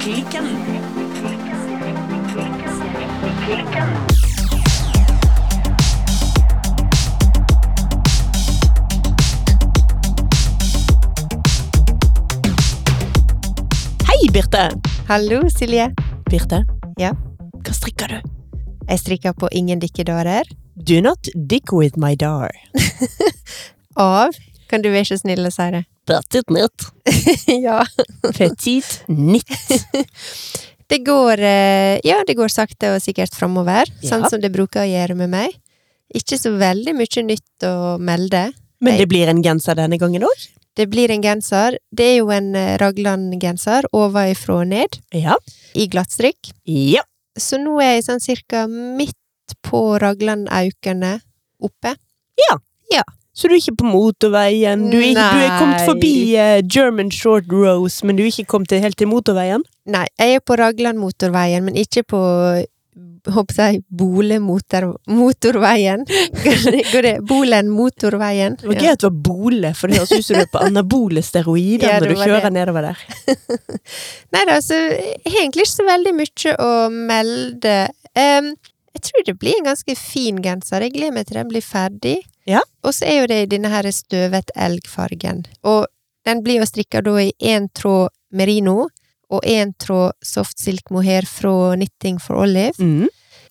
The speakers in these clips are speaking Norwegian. Klikken. Hei, Birte! Hallo, Silje. Birte? Ja? Hva strikker du? Jeg strikker på Ingen dikkedarer Do not dick with my dar. av Kan du være så snill å si det? Petit nytt. ja. Petit nytt. Det går, eh, ja, det går sakte og sikkert framover, Ja. sånn som det bruker å gjøre med meg. Ikke så veldig mye nytt å melde. Men det blir en genser denne gangen òg? Det blir en genser. Det er jo en eh, Ragland-genser ovenfra og ned, Ja. i glattstrikk. Ja. Så nå er jeg sånn cirka midt på Ragland-aukene oppe. Så du er ikke på motorveien? Du er, ikke, du er kommet Nei. forbi eh, German Short Rose, men du er ikke kommet til- helt til motorveien? Nei, jeg er på Ragland-motorveien, men ikke på håper jeg, Bole-motorveien. Går det? Bolen-motorveien. Det var gøy at det var bole, for det høres ut som du er på anabole steroider Ja, det når du var kjører det. nedover der. Nei da, så jeg har egentlig ikke så veldig mye å melde. Em, jeg tror det blir en ganske fin genser. Jeg gleder meg til den blir ferdig. Ja. Og så er jo det i denne her støvet elgfargen. Og den blir jo strikka da i én tråd merino og én tråd soft silk mohair fra Knitting for Olive. Mm.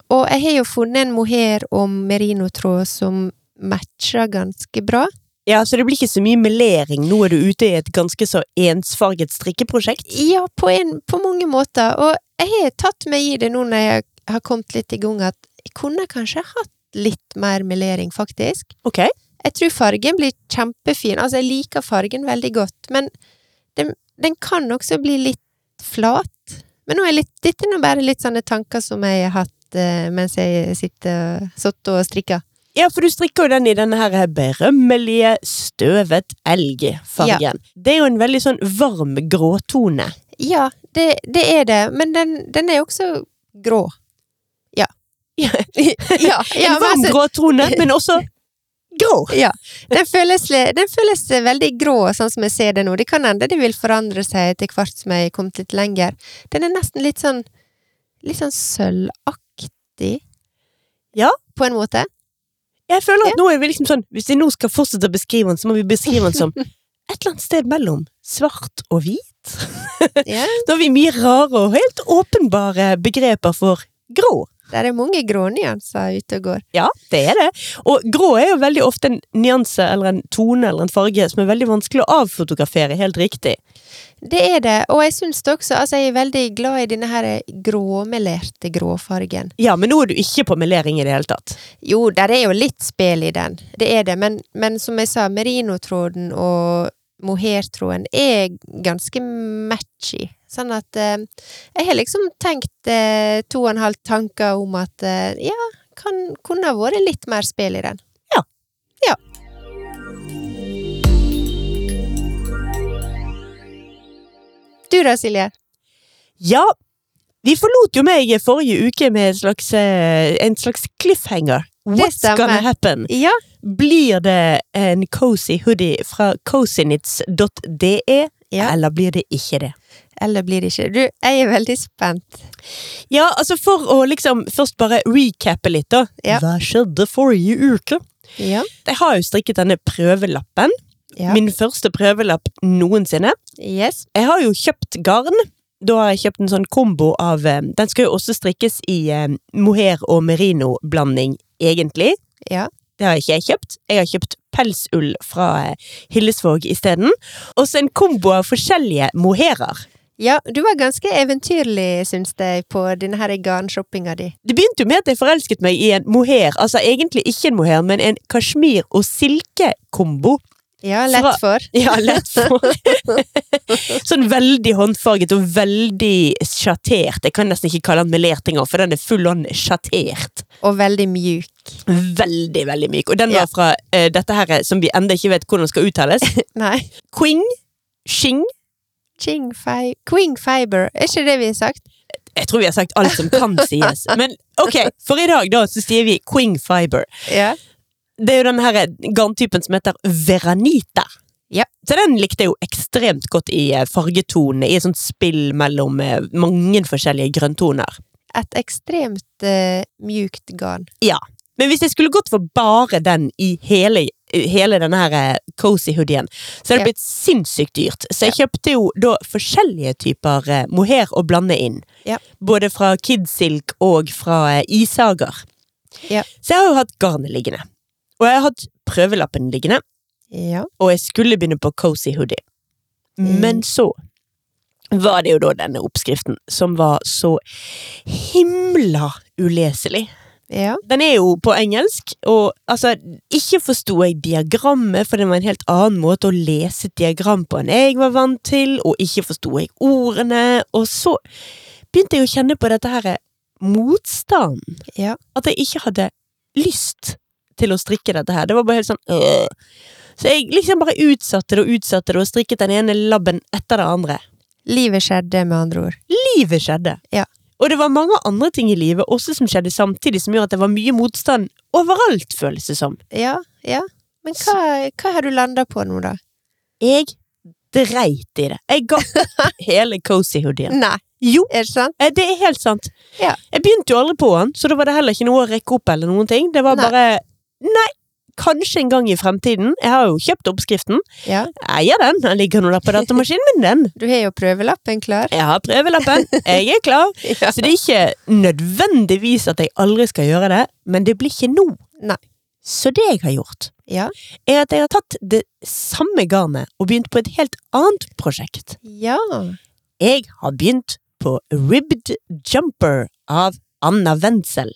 Og jeg har jo funnet en mohair og merinotråd som matcher ganske bra. Ja, så det blir ikke så mye melering. Nå er du ute i et ganske så ensfarget strikkeprosjekt. Ja, på, en, på mange måter. Og jeg har tatt meg i det nå når jeg har kommet litt i gang, at jeg kunne kanskje hatt litt mer melering, faktisk. Ok. Jeg tror fargen blir kjempefin. Altså, jeg liker fargen veldig godt, men den, den kan også bli litt flat. Men nå er jeg litt, dette er nå bare litt sånne tanker som jeg har hatt eh, mens jeg sitter, satt og strikker. Ja, for du strikker jo den i denne her berømmelige støvet elgfargen. Det er jo en veldig sånn varm gråtone. Ja, det, det er det, men den, den er også grå. Ja. Ja. ja, ja, en sånn men varm altså- gråtone, men også grå. Ja. Den føles, le- den føles veldig grå, sånn som jeg ser det nå. Det kan hende det vil forandre seg etter hvert som jeg er kommet litt lenger. Den er nesten litt sånn Litt sånn sølvaktig. Ja. På en måte. Jeg føler at nå er vi liksom sånn, hvis vi nå skal fortsette å beskrive den, så må vi beskrive den som et eller annet sted mellom svart og hvit. Ja. Da har vi mye rare og helt åpenbare begreper for grå. Der er mange grånyanser ute og går. Ja, det er det. Og grå er jo veldig ofte en nyanse eller en tone eller en farge som er veldig vanskelig å avfotografere helt riktig. Det er det, og jeg syns det også. Altså, jeg er veldig glad i denne her gråmelerte gråfargen. Ja, men nå er du ikke på melering i det hele tatt. Jo, der er jo litt spel i den, det er det, men, men som jeg sa, merinotråden og mohairtråden er ganske matchy. Sånn at eh, jeg har liksom tenkt eh, to og en halv tanker om at eh, ja, kan, kunne ha vært litt mer spel i den. Du da, Silje? Ja, vi forlot jo meg forrige uke med en slags, eh, en slags cliffhanger. What's stemmer. gonna happen? Ja, Blir det en cozy hoodie fra cozynits.de, Ja. eller blir det ikke det? eller blir det ikke? Du, jeg er veldig spent. Ja, altså for å liksom først bare recappe litt, da. Ja. Hva skjedde forrige uke? Ja, Jeg har jo strikket denne prøvelappen. ja. Min første prøvelapp noensinne. yes. Jeg har jo kjøpt garn. Da har jeg kjøpt en sånn kombo av eh, Den skal jo også strikkes i eh, mohair- og merino-blanding, egentlig. Ja. Det har ikke jeg kjøpt. Jeg har kjøpt pelsull fra eh, Hillesvåg isteden. Og så en kombo av forskjellige mohairer. Ja, du var ganske eventyrlig, syns jeg, på denne her garnshoppinga di. Det begynte jo med at jeg forelsket meg i en mohair. Altså egentlig ikke en mohair, men en kasjmir- og silkekombo. Ja, lett Fra- for. Ja, lett for. sånn veldig håndfarget og veldig sjattert. Jeg kan nesten ikke kalle den melert engang, for den er full on sjattert. Og veldig mjuk. Veldig, veldig myk. Og den var Ja. fra eh, dette her som vi enda ikke vet hvordan skal uttales. Nei. Quing, Shing. Ching fi Queen Fiber, er ikke det vi har sagt? Jeg tror vi har sagt alt som kan sies. Men ok, for i dag da, så sier vi Quing Fiber. Ja. Det er jo den her garntypen som heter veranita. Ja. Så den likte jeg jo ekstremt godt i eh, fargetonene, i et sånt spill mellom eh, mange forskjellige grønntoner. Et ekstremt eh, mjukt garn. Men hvis jeg skulle gått for bare den i hele, i hele denne her eh, cozy hoodien, så hadde Ja. det blitt sinnssykt dyrt. Så jeg kjøpte jo da forskjellige typer eh, mohair å blande inn. Ja. Både fra Kidsilk og fra eh, Isager. Ja. Så jeg har jo hatt garnet liggende. Og jeg har hatt prøvelappen liggende, Ja. og jeg skulle begynne på cozy hoodie. Men så var det jo da denne oppskriften som var så himla uleselig. ja. Den er jo på engelsk, og altså, ikke forsto jeg diagrammet, for det var en helt annen måte å lese et diagram på enn jeg var vant til, og ikke forsto jeg ordene, og så begynte jeg å kjenne på dette her motstanden. Ja. At jeg ikke hadde lyst til å strikke dette her. Det var bare helt sånn øh. Så jeg liksom bare utsatte det og utsatte det, og strikket den ene labben etter det andre Livet skjedde, med andre ord. livet skjedde. Ja. Og det var mange andre ting i livet også som skjedde samtidig, som gjør at det var mye motstand overalt, føles det som. Ja, ja. Men hva, hva har du landa på nå, da? Jeg dreit i det. Jeg ga opp hele cozy hoodien. Nei, Jo, er det sant? eh, det er helt sant. Ja. Jeg begynte jo aldri på den, så da var det heller ikke noe å rekke opp eller noen ting. Det var Nei. bare Nei! Kanskje en gang i fremtiden. Jeg har jo kjøpt oppskriften. Ja. Jeg eier den. Den ligger nå der på datamaskinen min, den. Du har jo prøvelappen klar. Jeg har prøvelappen. Jeg er klar. Ja. Så det er ikke nødvendigvis at jeg aldri skal gjøre det, men det blir ikke nå. Nei. Så det jeg har gjort, Ja. er at jeg har tatt det samme garnet og begynt på et helt annet prosjekt. ja. Jeg har begynt på Ribbed Jumper av Anna Wenzel.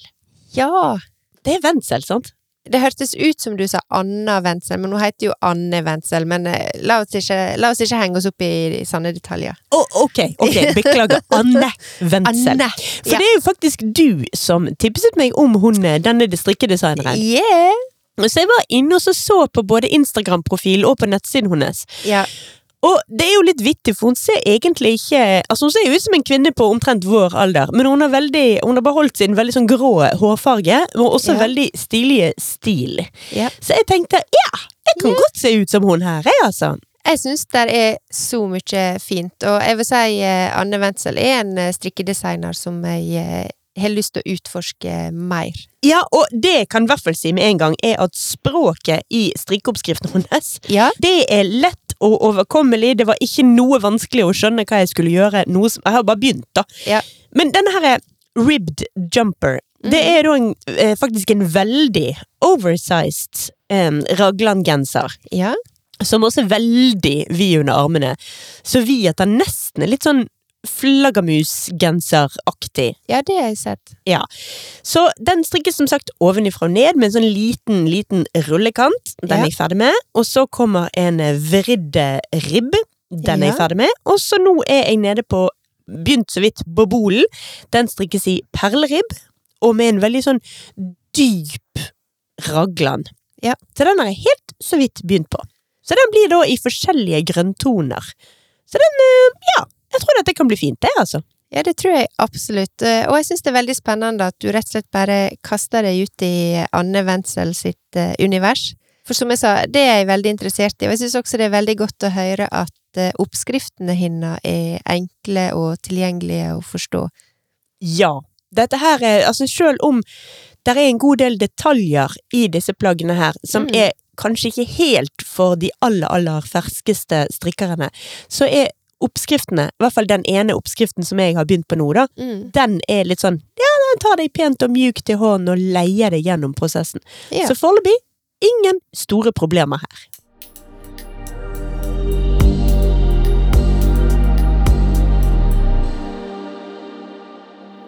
Ja. Det er Wenzel, sant? Det hørtes ut som du sa Anna Wenzel, men hun heter jo Anne Wenzel. Men eh, la oss ikke, la oss ikke henge oss opp i, sanne detaljer. Å, ok, ok, beklager. Anne Wenzel. Anne! For det er jo faktisk du som tipset meg om hun, eh, denne strikkedesigneren. Yeah! Så jeg var inne og så, så på både Instagram-profilen og på nettsiden hennes. Ja. Og det er jo litt vittig, for hun ser egentlig ikke Altså Hun ser jo ut som en kvinne på omtrent vår alder, men hun har, veldig, hun har beholdt sin veldig sånn grå hårfarge, og også Ja. veldig stilige stil. Ja. Så jeg tenkte ja, jeg kan godt se ut som hun her, jeg, altså. Jeg syns det er så mye fint, og jeg vil si eh, Anne Wenzel er en eh, strikkedesigner som jeg eh, har lyst til å utforske mer. Ja, og det jeg kan i hvert fall si med en gang, er at språket i strikkeoppskriften hennes Ja. det er lett og overkommelig. Det var ikke noe vanskelig å skjønne hva jeg skulle gjøre. Noe som, jeg har bare begynt, da. Ja. Men denne her er ribbed jumper. Det er da en, eh, faktisk en veldig oversized eh, raglangenser. Ja. Som også er veldig vid under armene. Så vid at den nesten er litt sånn flaggermusgenseraktig. ja, det har jeg sett. Så den strikkes som sagt ovenifra og ned med en sånn liten, liten rullekant. Den Ja. er jeg ferdig med. Og så kommer en eh, vridd eh, ribb. Den er jeg Ja. ferdig med. Og så nå er jeg nede på Begynt så vidt på bolen. Den strikkes i perleribb og med en veldig sånn dyp raglan. Ja. Så den har jeg helt så vidt begynt på. Så den blir da i forskjellige grønntoner. Så den eh, Ja, jeg tror dette kan bli fint, det, altså. Ja, det tror jeg absolutt. Eh, Og jeg syns det er veldig spennende at du rett og slett bare kaster deg ut i Anne Wenzel sitt eh, univers. For som jeg sa, det er jeg veldig interessert i, og jeg syns også det er veldig godt å høre at eh, oppskriftene hennes er enkle og tilgjengelige å forstå. Ja. Dette her er, altså selv om det er en god del detaljer i disse plaggene her, som Mm. er kanskje ikke helt for de aller, aller ferskeste strikkerne, så er oppskriftene, i hvert fall den ene oppskriften som jeg har begynt på nå da, den er litt sånn, ja, den tar deg pent og mjukt i hånden og leier deg gjennom prosessen. Ja. Så foreløpig, ingen store problemer her.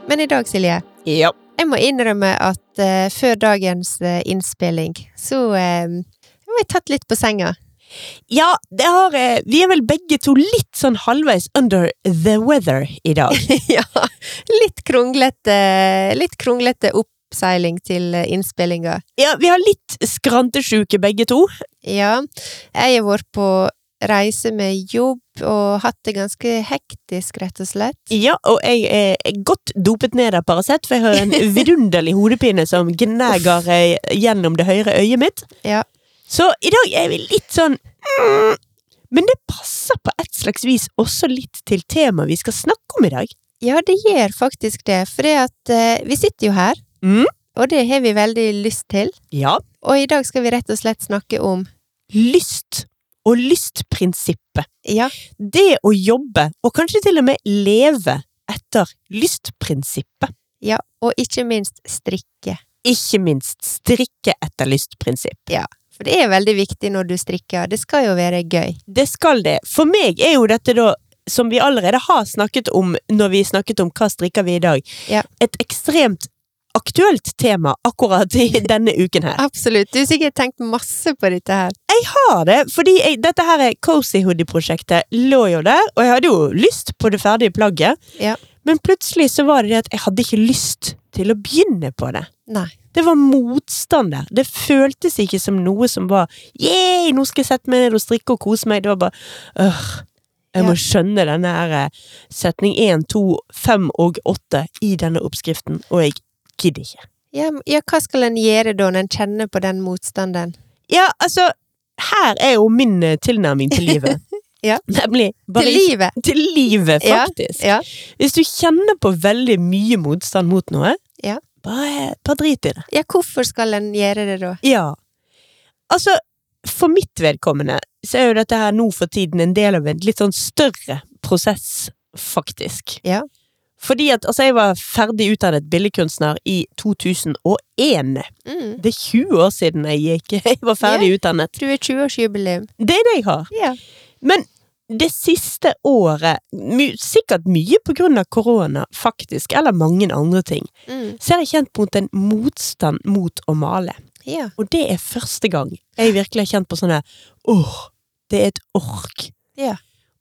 Men i dag, Silje, Ja. jeg må innrømme at eh, før dagens eh, innspilling, så eh, var jeg tatt litt på senga. Ja, det har, eh, vi er vel begge to litt sånn halvveis under the weather i dag. ja, litt kronglete, litt kronglete oppseiling til eh, innspillinga. Ja, vi har litt skrantesjuke begge to. Ja, jeg har vært på reise med jobb og hatt det ganske hektisk, rett og slett. Ja, og jeg er godt dopet ned av Paracet, for jeg har en vidunderlig hodepine som gnager eh, gjennom det høyre øyet mitt. Ja. Så i dag er vi litt sånn mm, utslagsvis også litt til temaet vi skal snakke om i dag. Ja, det gjør faktisk det, for det at eh, vi sitter jo her, Mm. og det har vi veldig lyst til. Ja. Og i dag skal vi rett og slett snakke om Lyst og lystprinsippet. Ja, Det å jobbe, og kanskje til og med leve, etter lystprinsippet. ja og ikke minst strikke. Ikke minst strikke etter lystprinsipp. For det er veldig viktig når du strikker. Det skal jo være gøy. Det skal det. For meg er jo dette da, som vi allerede har snakket om når vi snakket om hva strikker vi i dag, Ja. et ekstremt aktuelt tema akkurat i denne uken her. Absolutt. Du har sikkert tenkt masse på dette her. har det, fordi jeg, dette her er Cozy Hoodie-prosjektet lå jo der, og jeg hadde jo lyst på det ferdige plagget, Ja. men plutselig så var det det at jeg hadde ikke lyst til å begynne på det. Nei. Det var motstand der. Det føltes ikke som noe som var Yeah, nå skal jeg sette meg ned og strikke og kose meg. Det var bare øh, Jeg må Ja. skjønne denne her eh, setning 1, 2, 5 og 8 i denne oppskriften, og jeg gidder ikke. Ja, m- ja hva skal en gjøre da når en kjenner på den motstanden? Ja, altså Her er jo min eh, tilnærming til livet. Ja. Nemlig bare Til ikke livet! til livet, Ja, faktisk. Ja. Hvis du kjenner på veldig mye motstand mot noe, Ja. bare, bare drit i det. ja, hvorfor skal en gjøre det da? Ja. Altså, for mitt vedkommende så er jo dette her nå for tiden en del av en litt sånn større prosess, faktisk. Ja. Fordi at altså, jeg var ferdig utdannet billedkunstner i 2001. Mm. Det er 20 år siden jeg gikk. Jeg var ferdig utdannet. Du er 20-årsjubileum. Det er det jeg har. Ja. Men det siste året, my, sikkert mye på grunn av korona, faktisk, eller mange andre ting, Mm. så er jeg kjent mot en motstand mot å male. ja. Og det er første gang jeg virkelig har kjent på sånne åh, det er et ork. Ja.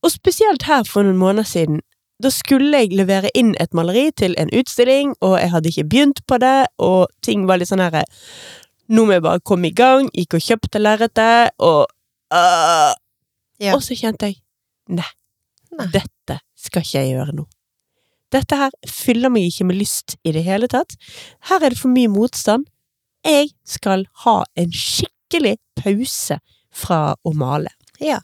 Og spesielt her for noen måneder siden. Da skulle jeg levere inn et maleri til en utstilling, og jeg hadde ikke begynt på det, og ting var litt sånn her Nå må jeg bare komme i gang. Gikk og kjøpte lerretet, og øh. Ja. Og så kjente jeg Nei, Nei. dette skal ikke jeg gjøre nå. Dette her fyller meg ikke med lyst i det hele tatt. Her er det for mye motstand. Jeg skal ha en skikkelig pause fra å male. Ja.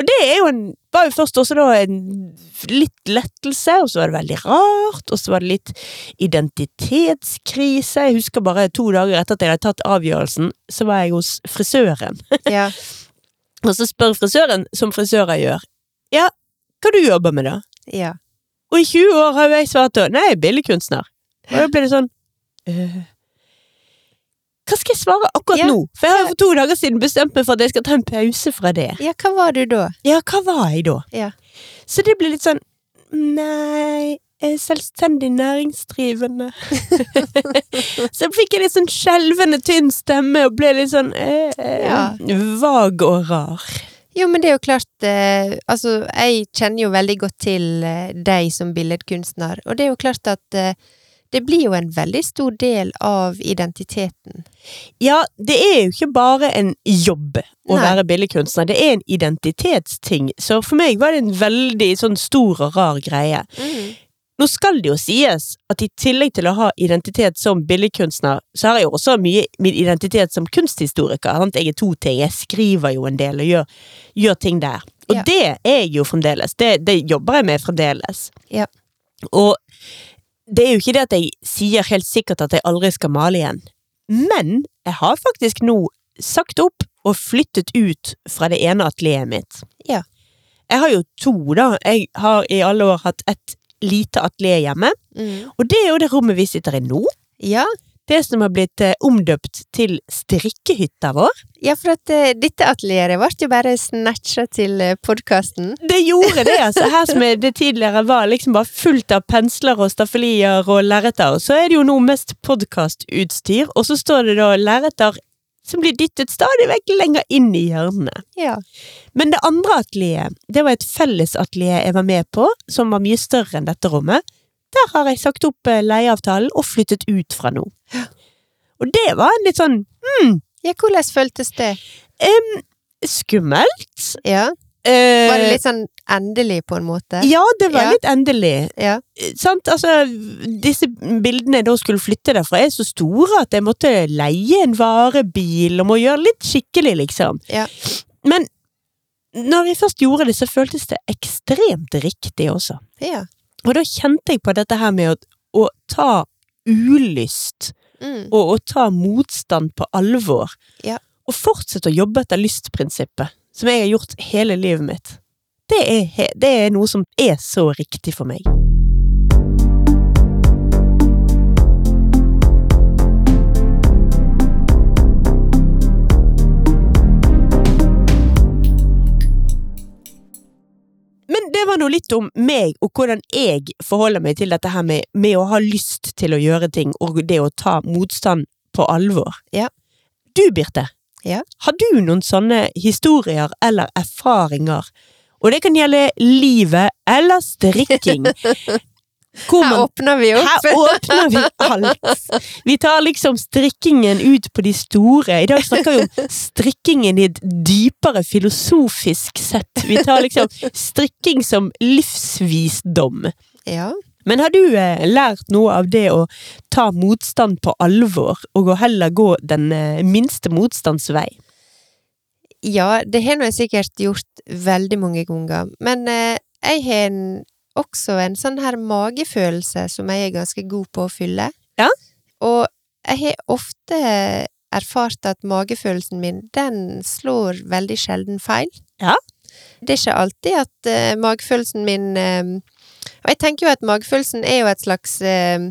Og det er jo en, var jo først også da en litt lettelse, og så var det veldig rart, og så var det litt identitetskrise. Jeg husker bare to dager etter at jeg hadde tatt avgjørelsen, så var jeg hos frisøren. ja. Og så spør frisøren, som frisører gjør, ja, hva du jobber med da? ja. Og i 20 år har jo jeg svart da, nei, jeg er billedkunstner. Og da ble det sånn, øh, hva skal jeg svare akkurat Ja, nå? For jeg har jo for to dager siden bestemt meg for at jeg skal ta en pause fra det. Ja, hva var du da? Ja, hva var jeg da? Ja. Så det ble litt sånn, nei, jeg er selvstendig næringsdrivende. så fikk jeg litt sånn skjelvende tynn stemme og ble litt sånn, øh, øh, Ja. vag og rar. Jo, men det er jo klart eh, Altså, jeg kjenner jo veldig godt til eh, deg som billedkunstner, og det er jo klart at eh, det blir jo en veldig stor del av identiteten. Ja, det er jo ikke bare en jobb å Nei. være billedkunstner, det er en identitetsting. Så for meg var det en veldig sånn stor og rar greie. Mm. Nå skal det jo sies at i tillegg til å ha identitet som billedkunstner, så har jeg jo også mye min identitet som kunsthistoriker. Sant? Jeg er to ting. Jeg skriver jo en del og gjør, gjør ting der. Og Ja. det er jeg jo fremdeles. Det, det jobber jeg med fremdeles. Ja. Og det er jo ikke det at jeg sier helt sikkert at jeg aldri skal male igjen. Men jeg har faktisk nå sagt opp og flyttet ut fra det ene atelieret mitt. Ja. Jeg har jo to, da. Jeg har i alle år hatt et lite atelier hjemme. Mm. Og det er jo det rommet vi sitter i nå. Ja, Det som har blitt eh, omdøpt til strikkehytta vår. ja, for at eh, dette atelieret ble jo bare snatcha til eh, podkasten. Det gjorde det, altså. Her som er det tidligere var liksom bare fullt av pensler og staffelier og lerreter, så er det jo nå mest podkastutstyr, og så står det da lerreter som blir dyttet stadig vekk lenger inn i hjørnene. Ja. Men det andre atelieret, det var et fellesatelier jeg var med på, som var mye større enn dette rommet. Der har jeg sagt opp eh, leieavtalen og flyttet ut fra nå. Og det var en litt sånn ja, hvordan føltes det? skummelt. Ja. Eh, Var det litt sånn endelig, på en måte? Ja, det var Ja. litt endelig. Ja. Eh, Sant? Altså, disse bildene jeg da skulle flytte derfra, er så store at jeg måtte leie en varebil og må gjøre litt skikkelig, liksom. Ja. Men når jeg først gjorde det, så føltes det ekstremt riktig også. Ja. Og da kjente jeg på dette her med å, å ta ulyst Mm. og å ta motstand på alvor. Ja. Og fortsette å jobbe etter lystprinsippet, som jeg har gjort hele livet mitt. Det er, he- det er noe som er så riktig for meg. Men det var nå litt om meg, og hvordan jeg forholder meg til dette her med, med å ha lyst til å gjøre ting, og det å ta motstand på alvor. Ja. Du, Birte, Ja. har du noen sånne historier eller erfaringer, og det kan gjelde livet eller strikking, hvor Her man åpner vi opp. her åpner vi alt! Vi tar liksom strikkingen ut på de store. I dag snakker vi om strikkingen i et dypere filosofisk sett. Vi tar liksom strikking som livsvisdom. Ja. Men har du eh, lært noe av det å ta motstand på alvor, og å heller gå den eh, minste motstands vei? Ja, det har nå jeg sikkert gjort veldig mange ganger, men eh, jeg har en, også en sånn her magefølelse som jeg er ganske god på å fylle. Ja. Og jeg har ofte erfart at magefølelsen min, den slår veldig sjelden feil. Ja. Det er ikke alltid at eh, magefølelsen min eh, Og jeg tenker jo at magefølelsen er jo et slags eh,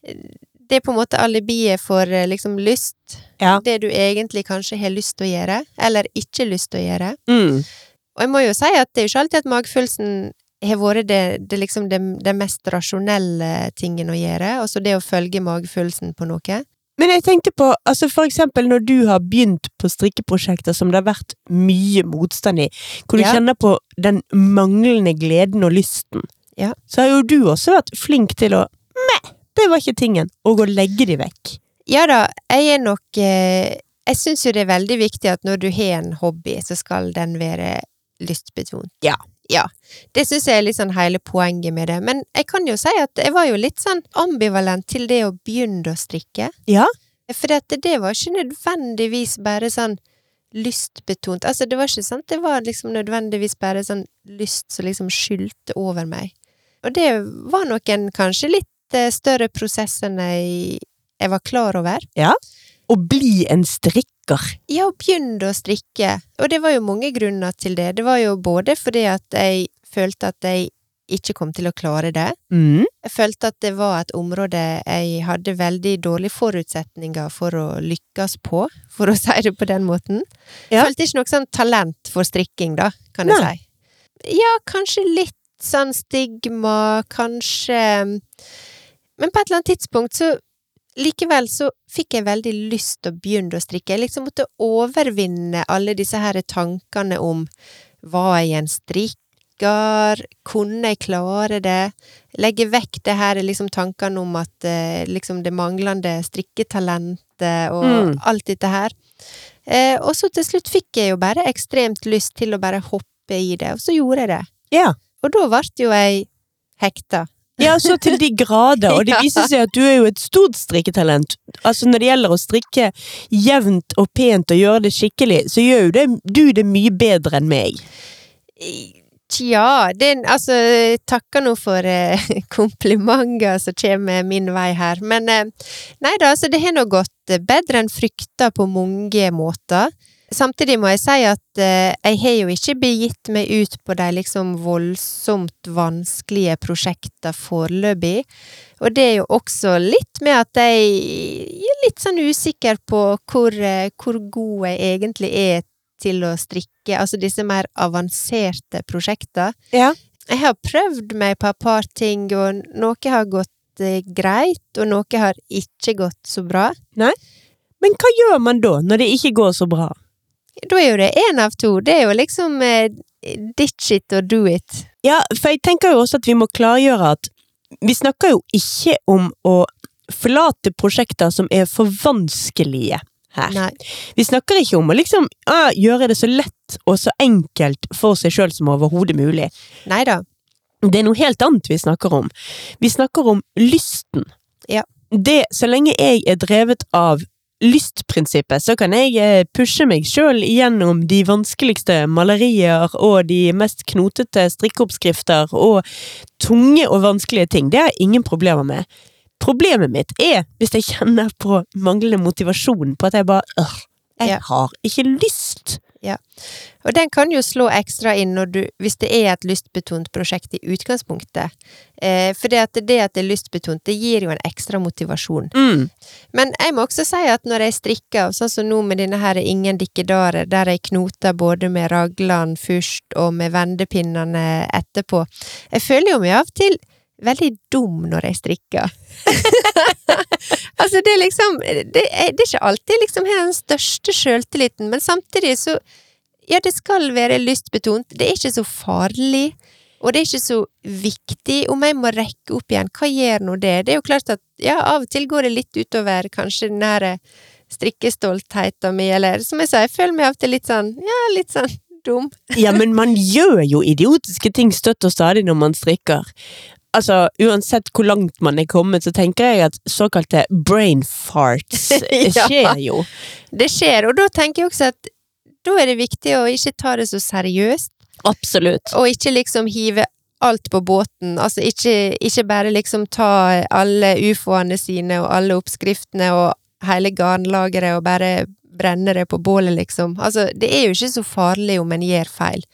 Det er på en måte alibiet for eh, liksom lyst. Ja. Det du egentlig kanskje har lyst til å gjøre, eller ikke lyst til å gjøre. Mm. Og jeg må jo si at det er jo ikke alltid at magefølelsen har vært det, det, liksom det, det mest rasjonelle tingen å gjøre, altså det å følge magefølelsen på noe. Men jeg tenkte på, altså for eksempel når du har begynt på strikkeprosjekter som det har vært mye motstand i, hvor du Ja. kjenner på den manglende gleden og lysten, Ja. så har jo du også vært flink til å Meh, det var ikke tingen, og å legge de vekk. Ja da, jeg er nok eh, Jeg syns jo det er veldig viktig at når du har en hobby, så skal den være lystbetont. Ja. Ja. Det syns jeg er litt sånn hele poenget med det. Men jeg kan jo si at jeg var jo litt sånn ambivalent til det å begynne å strikke. Ja. For det, det var ikke nødvendigvis bare sånn lystbetont. Altså, det var ikke sant, det var liksom nødvendigvis bare sånn lyst som liksom skyldte over meg. Og det var nok en kanskje litt eh, større prosess enn jeg, jeg var klar over. Å bli en strikker. Ja, og begynte å strikke. Og det var jo mange grunner til det. Det var jo både fordi at jeg følte at jeg ikke kom til å klare det. Mm. Jeg følte at det var et område jeg hadde veldig dårlige forutsetninger for å lykkes på, for å si det på den måten. Ja. Jeg følte ikke noe sånn talent for strikking, da, kan jeg Nei. si. Ja, kanskje litt sånn stigma, kanskje mm, Men på et eller annet tidspunkt så Likevel så fikk jeg veldig lyst til å begynne å strikke. Jeg liksom måtte overvinne alle disse her tankene om var jeg en strikker, kunne jeg klare det? Legge vekk det her liksom tankene om at eh, liksom det manglende strikketalentet og Mm. alt dette her. Eh, og så til slutt fikk jeg jo bare ekstremt lyst til å bare hoppe i det, og så gjorde jeg det. Ja. Og da ble jo jeg hekta. ja, så til de grader. Og det Ja. viser seg at du er jo et stort strikketalent. Altså Når det gjelder å strikke jevnt og pent og gjøre det skikkelig, så gjør jo det, du det mye bedre enn meg. Tja, det, er- altså takker nå for eh, komplimenter som kommer min vei her, men eh, nei da, altså det har nå gått eh, bedre enn frykta på mange måter. Samtidig må jeg si at eh, jeg har jo ikke begitt meg ut på de liksom voldsomt vanskelige prosjektene foreløpig, og det er jo også litt med at jeg er litt sånn usikker på hvor, eh, hvor god jeg egentlig er til å strikke, altså disse mer avanserte prosjekter. Ja. Jeg har prøvd meg på et par ting, og noe har gått eh, greit, og noe har ikke gått så bra. Men hva gjør man da, når det ikke går så bra? Da er jo det én av to. Det er jo liksom eh, ditch it og do it. Ja, for jeg tenker jo også at vi må klargjøre at vi snakker jo ikke om å forlate prosjekter som er for vanskelige her. Nei. Vi snakker ikke om å liksom ah, gjøre det så lett og så enkelt for seg sjøl som overhodet mulig. Nei da. Det er noe helt annet vi snakker om. Vi snakker om lysten. Ja. Det, så lenge jeg er drevet av lystprinsippet så kan jeg eh, pushe meg sjøl gjennom de vanskeligste malerier og de mest knotete strikkeoppskrifter og tunge og vanskelige ting. Det har jeg ingen problemer med. Problemet mitt er hvis jeg kjenner på manglende motivasjon, på at jeg bare øh, jeg Ja. har ikke lyst. Og den kan jo slå ekstra inn når du, hvis det er et lystbetont prosjekt i utgangspunktet. Eh, for det at, det at det er lystbetont, det gir jo en ekstra motivasjon. Mm. Men jeg må også si at når jeg strikker, og sånn som nå med denne her Ingen dikkedarer, der jeg knoter både med raglan først og med vendepinnene etterpå, jeg føler jo meg av og til veldig dum når jeg strikker. altså, det er liksom Det er, det er ikke alltid liksom jeg har den største sjøltilliten, men samtidig så Ja, det skal være lystbetont, det er ikke så farlig. Og det er ikke så viktig om jeg må rekke opp igjen. Hva gjør nå det? Det er jo klart at ja, av og til går det litt utover kanskje den her eh, strikkestoltheten min, eller som jeg sa, jeg føler meg av og til litt sånn, ja, litt sånn dum. Ja, men man gjør jo idiotiske ting støtt og stadig når man strikker. Altså, Uansett hvor langt man er kommet, så tenker jeg at såkalte brain farts eh, Ja. skjer jo. Det skjer, og da tenker jeg også at da er det viktig å ikke ta det så seriøst, Absolutt. og ikke liksom hive alt på båten, altså ikke, ikke bare liksom ta alle ufoene sine og alle oppskriftene og hele garnlageret og bare brenne det på bålet, liksom. Altså, det er jo ikke så farlig om en gjør feil.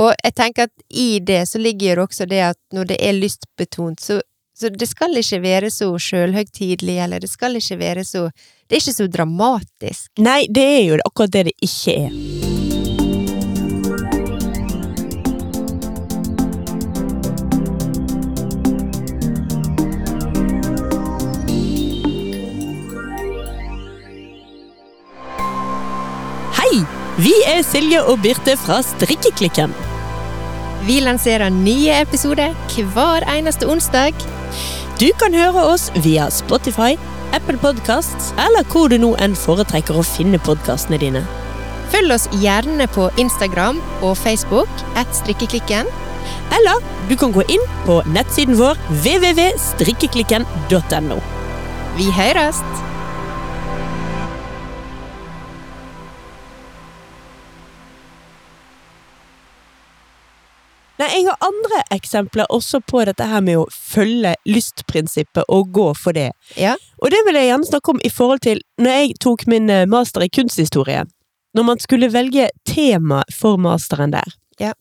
Og jeg tenker at i det så ligger jo også det at når det er lystbetont, så, så det skal ikke være så sjølhøgtidelig, eller det skal ikke være så Det er ikke så dramatisk. Nei, det er jo akkurat det det ikke er. Hei! Vi er Silje og Birte fra Strikkeklikken. Vi lanserer nye episoder hver eneste onsdag. Du kan høre oss via Spotify, Apple Podcasts eller hvor du nå enn foretrekker å finne podkastene dine. Følg oss gjerne på Instagram og Facebook at strikkeklikken. Eller du kan gå inn på nettsiden vår www.strikkeklikken.no. Vi høres! Nei, jeg har andre eksempler også på dette her med å følge lystprinsippet og gå for det. Ja. Og det vil jeg gjerne snakke om i forhold til når jeg tok min eh, master i kunsthistorie. Når man skulle velge tema for masteren der, Ja.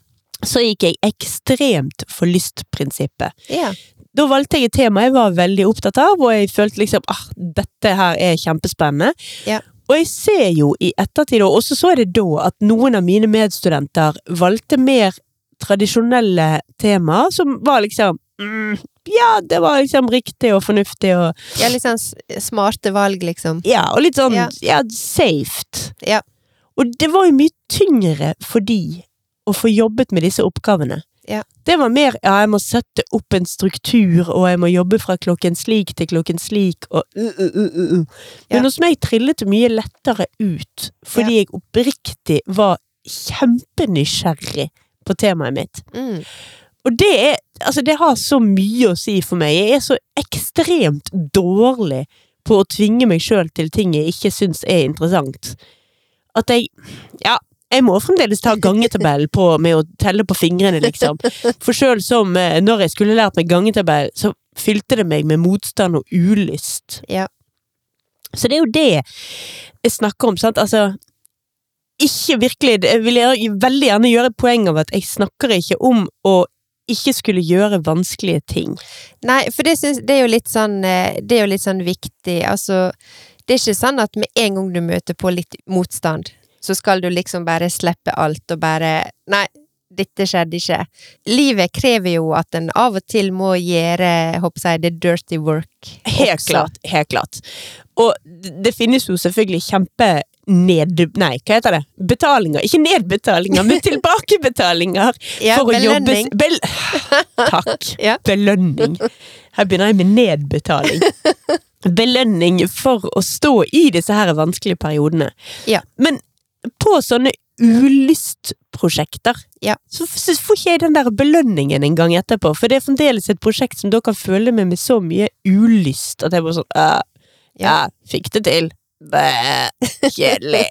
så gikk jeg ekstremt for lystprinsippet. ja. Da valgte jeg et tema jeg var veldig opptatt av, og jeg følte liksom ah, dette her er kjempespennende. Ja. Og jeg ser jo i ettertid, og også så er det da, at noen av mine medstudenter valgte mer tradisjonelle temaer, som var liksom mm, Ja, det var liksom riktig og fornuftig og ja litt sånn s- smarte valg, liksom. ja, og litt sånn ja. Ja. safe. Ja. Og det var jo mye tyngre for de å få jobbet med disse oppgavene. Ja. Det var mer ja, jeg må sette opp en struktur, og jeg må jobbe fra klokken slik til klokken slik, og uh, uh, uh, uh, uh. Men Ja. hos meg trillet det mye lettere ut, fordi jeg oppriktig var kjempenysgjerrig på temaet mitt. Mm. Og det er Altså, det har så mye å si for meg. Jeg er så ekstremt dårlig på å tvinge meg sjøl til ting jeg ikke syns er interessant. At jeg Ja, jeg må fremdeles ta gangetabell på med å telle på fingrene, liksom. For sjøl som eh, når jeg skulle lært meg gangetabell, så fylte det meg med motstand og ulyst. Ja. Så det er jo det jeg snakker om, sant? Altså, ikke virkelig, det- jeg vil gjerne- veldig gjerne gjøre et poeng av at jeg snakker ikke om å ikke skulle gjøre vanskelige ting. Nei, for det, syns, det er jo litt sånn eh, Det er jo litt sånn viktig, altså Det er ikke sånn at med en gang du møter på litt motstand, så skal du liksom bare slippe alt og bare Nei, dette skjedde ikke. Livet krever jo at en av og til må gjøre, håper jeg, the dirty work. Helt også. klart, helt klart. Og det- det finnes jo selvfølgelig kjempe ned... Nei, hva heter det? Betalinger. Ikke nedbetalinger, men tilbakebetalinger! Ja, for belønning. Å jobbe, bel takk. Ja. Belønning. Her begynner jeg med nedbetaling. Belønning for å stå i disse her vanskelige periodene. Ja. Men på sånne ulystprosjekter, Ja. så f- så får ikke jeg den der belønningen en gang etterpå. For det er fremdeles et prosjekt som da kan føle meg med så mye ulyst at jeg bare sånn «Æ, Ja. ja, fikk det til. Bæ, kjedelig.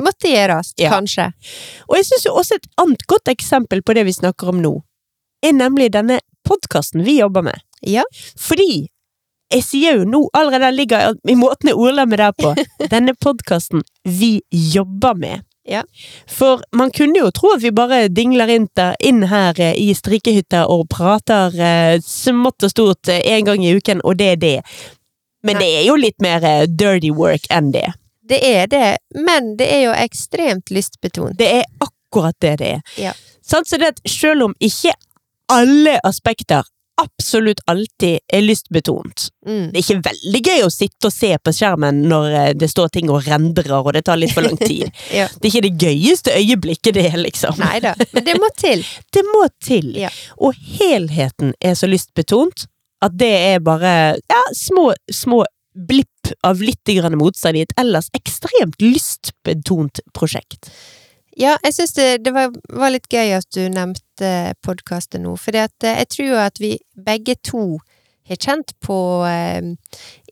Måtte gjøres, Ja. kanskje. Og jeg syns jo også et annet godt eksempel på det vi snakker om nå, er nemlig denne podkasten vi jobber med. Ja. Fordi jeg sier jo nå, allerede den ligger i måten jeg ordlegger meg der på, denne podkasten vi jobber med. Ja. For man kunne jo tro at vi bare dingler inn, der, inn her eh, i strikehytta og prater eh, smått og stort eh, en gang i uken, og det er det. Men Nei. det er jo litt mer eh, dirty work enn det. Det er det, men det er jo ekstremt lystbetont. Det er akkurat det det er. Ja. Sant? så det at selv om ikke alle aspekter absolutt alltid er lystbetont Mm. Det er ikke veldig gøy å sitte og se på skjermen når eh, det står ting og rendrer og det tar litt for lang tid. Ja. Det er ikke det gøyeste øyeblikket, det, liksom. Nei da, men det må til. Det må til. Ja. Og helheten er så lystbetont at det er bare ja, små, små blipp av litt grann motstand i et ellers ekstremt lystbetont prosjekt. Ja, jeg syns det, det var, var litt gøy at du nevnte podkaster nå, for jeg tror jo at vi begge to har kjent på eh,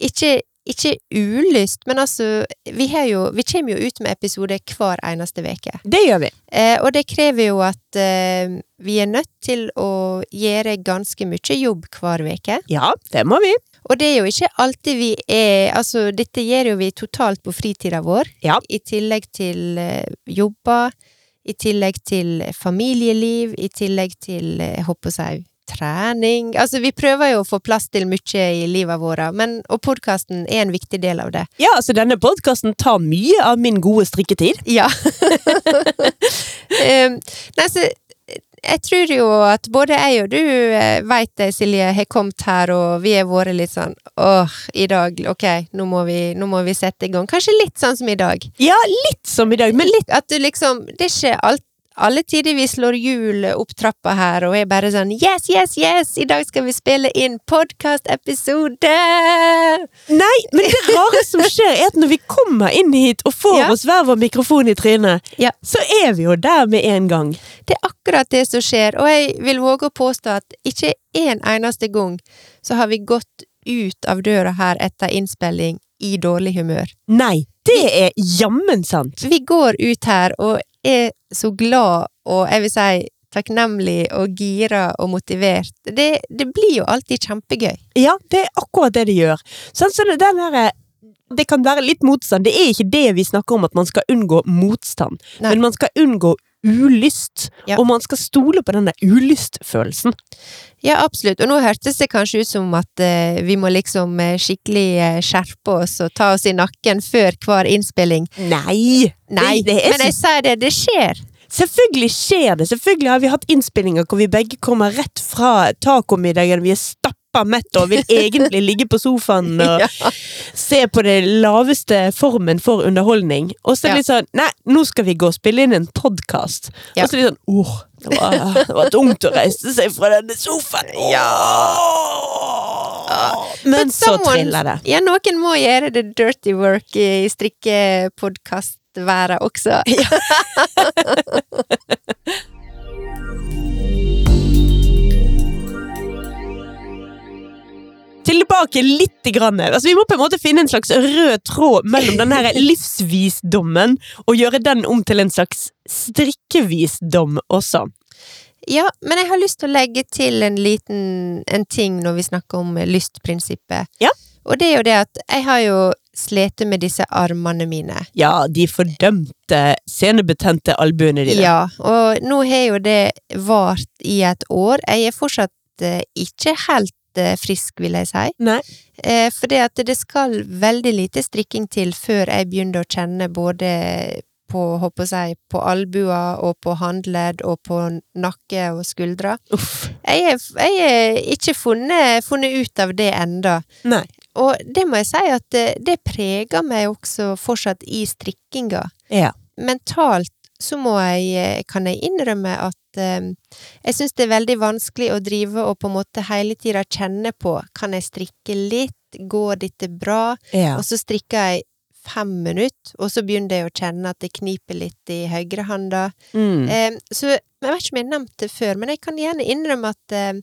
ikke, ikke ulyst, men altså Vi, har jo, vi kommer jo ut med episoder hver eneste uke. Det gjør vi. Eh, og det krever jo at eh, vi er nødt til å gjøre ganske mye jobb hver uke. Ja, det må vi. Og det er jo ikke alltid vi er Altså, dette gjør jo vi totalt på fritida vår. Ja. I tillegg til eh, jobber, i tillegg til familieliv, i tillegg til, eh, jeg håper å si, trening. Altså, vi prøver jo å få plass til mye i livet vårt, men, og podkasten er en viktig del av det. Ja, altså denne podkasten tar mye av min gode strikketid. Ja. Em, nei, så jeg tror jo at både jeg og du eh, vet det, Silje, har kommet her, og vi har vært litt sånn åh, i dag, ok, nå må, vi, nå må vi sette i gang. Kanskje litt sånn som i dag. Ja, litt som i dag, men litt At du liksom Det er ikke alt alle tider vi slår hjul opp trappa her og er bare sånn Yes, yes, yes! I dag skal vi spille inn podkastepisode! Nei, men det rare som skjer, er at når vi kommer inn hit og får Ja. oss hver vår mikrofon i trynet, Ja. så er vi jo der med en gang. Det er akkurat det som skjer, og jeg vil våge å påstå at ikke en eneste gang så har vi gått ut av døra her etter innspilling i dårlig humør. Nei, det er jammen sant. Vi går ut her og er så glad og jeg vil si takknemlig og gira og motivert. Det, det blir jo alltid kjempegøy. Ja, det er akkurat det det gjør. Sånn, så det, den her, det kan være litt motstand. Det er ikke det vi snakker om, at man skal unngå motstand. Nei. Men man skal unngå ulyst, Ja. og man skal stole på den der ulystfølelsen. Ja, absolutt. Og nå hørtes det kanskje ut som at eh, vi må liksom eh, skikkelig eh, skjerpe oss og ta oss i nakken før hver innspilling. Nei! Nei, det, det er men jeg sier det, det skjer. Selvfølgelig skjer det. Selvfølgelig har vi hatt innspillinger hvor vi begge kommer rett fra tacomiddagen. Vi er stappa mett og vil egentlig ligge på sofaen og Ja. se på det laveste formen for underholdning. Og så er det Ja. litt sånn Nei, nå skal vi gå og spille inn en podkast. Ja. Og så er det litt sånn Åh, det var, det var tungt å reise seg fra denne sofaen. Åh. Men But så someone- triller det. Ja, noen må gjøre det dirty work i strikkepodkastværet også. tilbake litt. Grann. Altså, vi må på en måte finne en slags rød tråd mellom den her livsvisdommen og gjøre den om til en slags strikkevisdom også. Ja, men jeg har lyst til å legge til en liten en ting når vi snakker om lystprinsippet. Ja. Og det er jo det at jeg har jo slitt med disse armene mine. Ja, de fordømte senebetente albuene dine. Ja, og nå har jo det vart i et år. Jeg er fortsatt eh, ikke helt eh, frisk, vil jeg si. Nei. Eh, for det at det skal veldig lite strikking til før jeg begynner å kjenne både på, håper jeg, å si, på albuer og på håndledd og på nakke og skuldre. Uff. Jeg er, jeg er ikke funnet, funnet ut av det enda. Nei. Og det må jeg si at det, det preger meg også fortsatt i strikkinga. Ja. Mentalt så må jeg, eh, kan jeg innrømme at eh, jeg syns det er veldig vanskelig å drive og på en måte hele tida kjenne på kan jeg strikke litt, går dette bra, Ja. og så strikker jeg fem minutter, og så begynner jeg å kjenne at det kniper litt i høyrehånda. Mm. Eh, så jeg vet ikke om jeg har nevnt det før, men jeg kan gjerne innrømme at eh,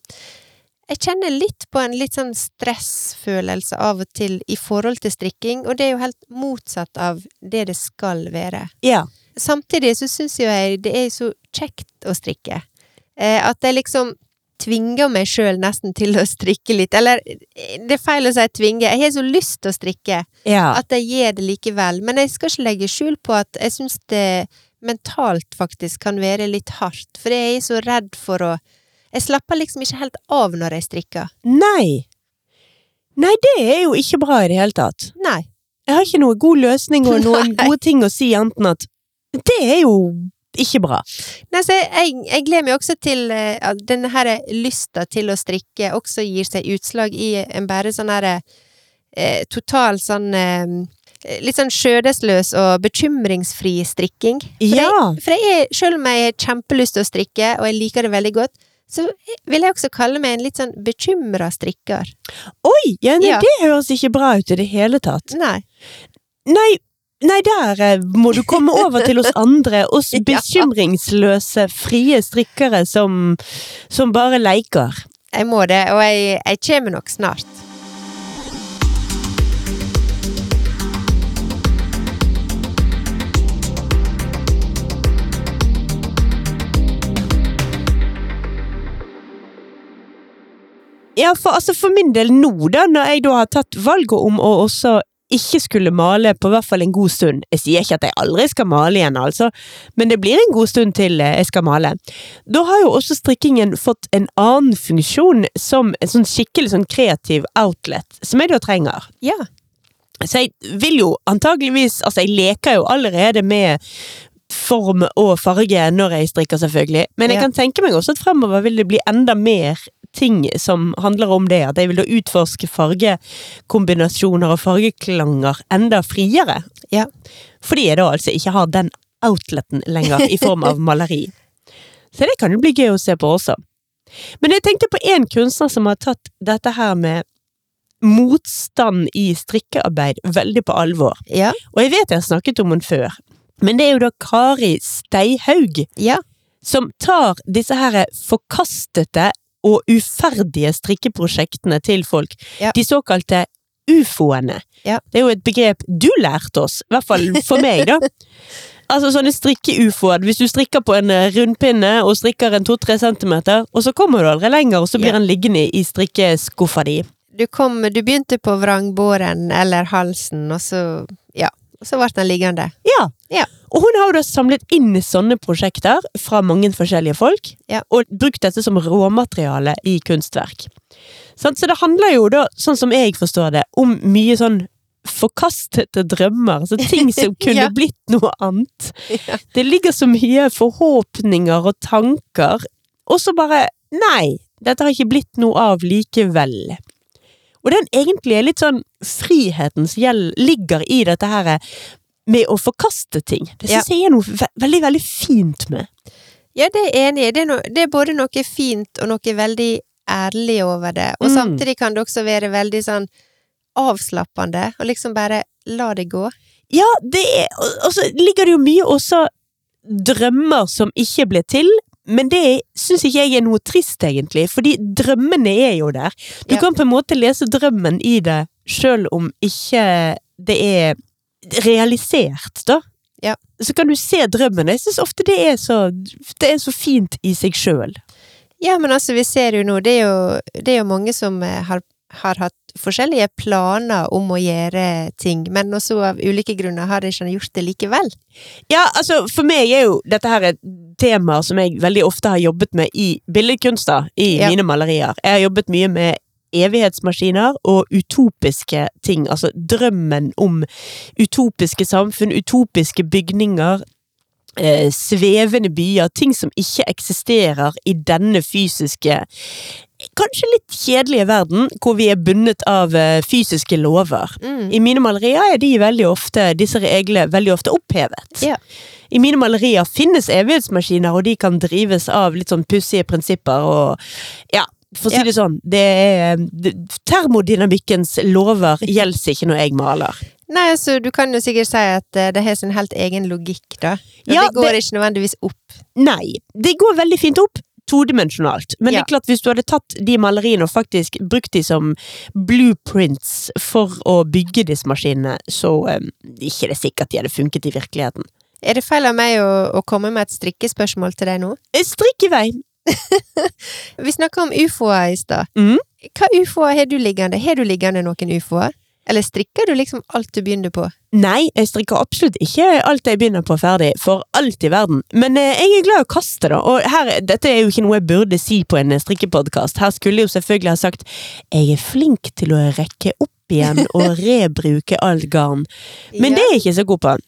Jeg kjenner litt på en litt sånn stressfølelse av og til i forhold til strikking, og det er jo helt motsatt av det det skal være. Ja. Samtidig så syns jo jeg det er så kjekt å strikke. Eh, at jeg liksom tvinger meg sjøl nesten til å strikke litt. Eller eh, det er feil å si tvinge, jeg har så lyst til å strikke ja. at jeg gjør det likevel. Men jeg skal ikke legge skjul på at jeg syns det mentalt faktisk kan være litt hardt. For jeg er så redd for å Jeg slapper liksom ikke helt av når jeg strikker. Nei. Nei, det er jo ikke bra i det hele tatt. Nei. Jeg har ikke noen god løsning og noen Nei. gode ting å si anten at Det er jo ikke bra. Nei, så jeg, jeg, jeg gleder meg også til eh, at denne her lysta til å strikke også gir seg utslag i en bare sånn her eh, total sånn eh, Litt sånn skjødesløs og bekymringsfri strikking. For Ja. jeg, for jeg er, selv om jeg har kjempelyst til å strikke, og jeg liker det veldig godt, så vil jeg også kalle meg en litt sånn bekymra strikker. Oi! Ja, nei, Ja. Det høres ikke bra ut i det hele tatt. Nei. Nei, nei der eh, må du komme over til oss andre, oss Ja. bekymringsløse, frie strikkere som, som bare leker. Jeg må det, og jeg, jeg kommer nok snart. Ja, for, altså, for min del nå, da, når jeg da har tatt valget om å også ikke skulle male på hvert fall en god stund Jeg sier ikke at jeg aldri skal male igjen, altså, men det blir en god stund til eh, jeg skal male. Da har jo også strikkingen fått en annen funksjon som en sånn skikkelig sånn kreativ outlet, som jeg da trenger. Ja. Så jeg vil jo antageligvis Altså, jeg leker jo allerede med form og farge når jeg strikker, selvfølgelig. Men jeg Ja. kan tenke meg også at fremover vil det bli enda mer ting som handler om det. At jeg vil da utforske fargekombinasjoner og fargeklanger enda friere. Ja. Fordi jeg da altså ikke har den outleten lenger i form av maleri. Så det kan jo bli gøy å se på også. Men jeg tenkte på én kunstner som har tatt dette her med motstand i strikkearbeid veldig på alvor. Ja. Og jeg vet jeg har snakket om henne før, men det er jo da Kari Steihaug Ja. som tar disse her forkastete og uferdige strikkeprosjektene til folk. Ja. De såkalte ufoene. Ja. Det er jo et begrep du lærte oss, i hvert fall for meg, da. Altså sånne strikke-ufoer. Hvis du strikker på en eh, rundpinne og strikker en to-tre centimeter, og så kommer du aldri lenger, og så blir Ja. den liggende i strikkeskuffa di. du kom Du begynte på vrangbåren eller halsen, og så Ja. Og så ble den liggende. Ja. Ja. Og hun har jo da samlet inn sånne prosjekter fra mange forskjellige folk, Ja. og brukt dette som råmateriale i kunstverk. Sant? Så det handler jo da, sånn som jeg forstår det, om mye sånn forkastete drømmer, altså ting som kunne Ja. blitt noe annet. Ja. Det ligger så mye forhåpninger og tanker, og så bare Nei, dette har ikke blitt noe av likevel. Og den egentlig er litt sånn friheten som gjel- ligger i dette her med å forkaste ting. Det syns jeg er noe ve veldig, veldig fint med. Ja, det er jeg enig i. Det, er no, det er både noe fint og noe veldig ærlig over det. Og Mm. samtidig kan det også være veldig sånn avslappende, og liksom bare la det gå. Ja, det er, og, og så ligger det jo mye også drømmer som ikke ble til, men det syns ikke jeg er noe trist, egentlig, fordi drømmene er jo der. Du Ja. kan på en måte lese drømmen i det, sjøl om ikke det er realisert, da. Ja. Så kan du se drømmen. Jeg syns ofte det er, så, det er så fint i seg sjøl. Ja, men altså, vi ser jo nå, det er jo, det er jo mange som eh, har, har hatt forskjellige planer om å gjøre ting, men også av ulike grunner har de ikke gjort det likevel. Ja, altså for meg er jo dette her et tema som jeg veldig ofte har jobbet med i billedkunst da, i Ja. mine malerier. Jeg har jobbet mye med evighetsmaskiner og utopiske ting, altså drømmen om utopiske samfunn, utopiske bygninger, eh, svevende byer, ting som ikke eksisterer i denne fysiske, kanskje litt kjedelige verden, hvor vi er bundet av eh, fysiske lover. Mm. I mine malerier er de veldig ofte, disse reglene veldig ofte opphevet. Ja. I mine malerier finnes evighetsmaskiner, og de kan drives av litt sånn pussige prinsipper og Ja, for å si Ja. det sånn. Det er, det, termodynamikkens lover gjelder ikke når jeg maler. Nei, altså, du kan jo sikkert si at eh, det har sin helt egen logikk, da. Og Ja, det går ikke nødvendigvis opp. Nei. Det går veldig fint opp todimensjonalt. Men det Ja. er klart, hvis du hadde tatt de maleriene og faktisk brukt de som blueprints for å bygge disse maskinene, så um, ikke det er sikkert de hadde funket i virkeligheten. Er det feil av meg å, å komme med et strikkespørsmål til deg nå? Eh, Strikk i vei! Vi snakka om ufoer i stad. Mhm. Hva ufoer har du liggende? Har du liggende noen ufoer? Eller strikker du liksom alt du begynner på? Nei, jeg strikker absolutt ikke alt jeg begynner på ferdig, for alt i verden. Men eh, jeg er glad i å kaste, da. Og her, dette er jo ikke noe jeg burde si på en eh, strikkepodkast. Her skulle jeg jo selvfølgelig ha sagt 'jeg er flink til å rekke opp igjen og rebruke alt garn', men Ja. det er jeg ikke så god på.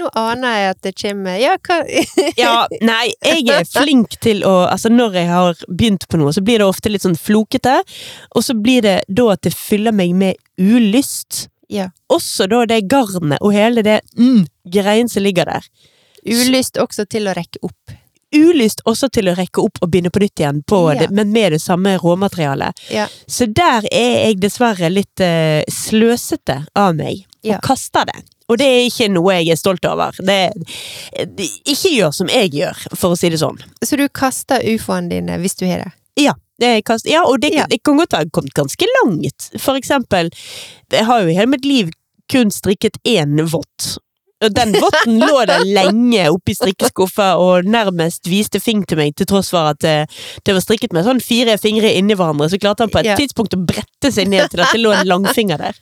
Nå aner jeg at det kommer Ja, hva Ja, nei, jeg er flink til å Altså, når jeg har begynt på noe, så blir det ofte litt sånn flokete, og så blir det da at det fyller meg med ulyst. Ja. Også da det garnet og hele det mm, greien som ligger der. Ulyst også til å rekke opp. ulyst også til å rekke opp og begynne på nytt igjen, på Ja. det, men med det samme råmaterialet. Ja. Så der er jeg dessverre litt eh, sløsete av meg, Ja. og kaster det. Og det er ikke noe jeg er stolt over. Det, det, ikke gjør som jeg gjør, for å si det sånn. Så du kaster ufoene dine hvis du har det? Det kast, ja, og det, Ja. det kan godt ha kommet ganske langt. For eksempel, jeg har jo i hele mitt liv kun strikket én vott. Og den votten lå der lenge oppi strikkeskuffa og nærmest viste fing til meg, til tross for at eh, det var strikket med sånn fire fingre inni hverandre. Så klarte han på et Ja. tidspunkt å brette seg ned til at det lå en langfinger der.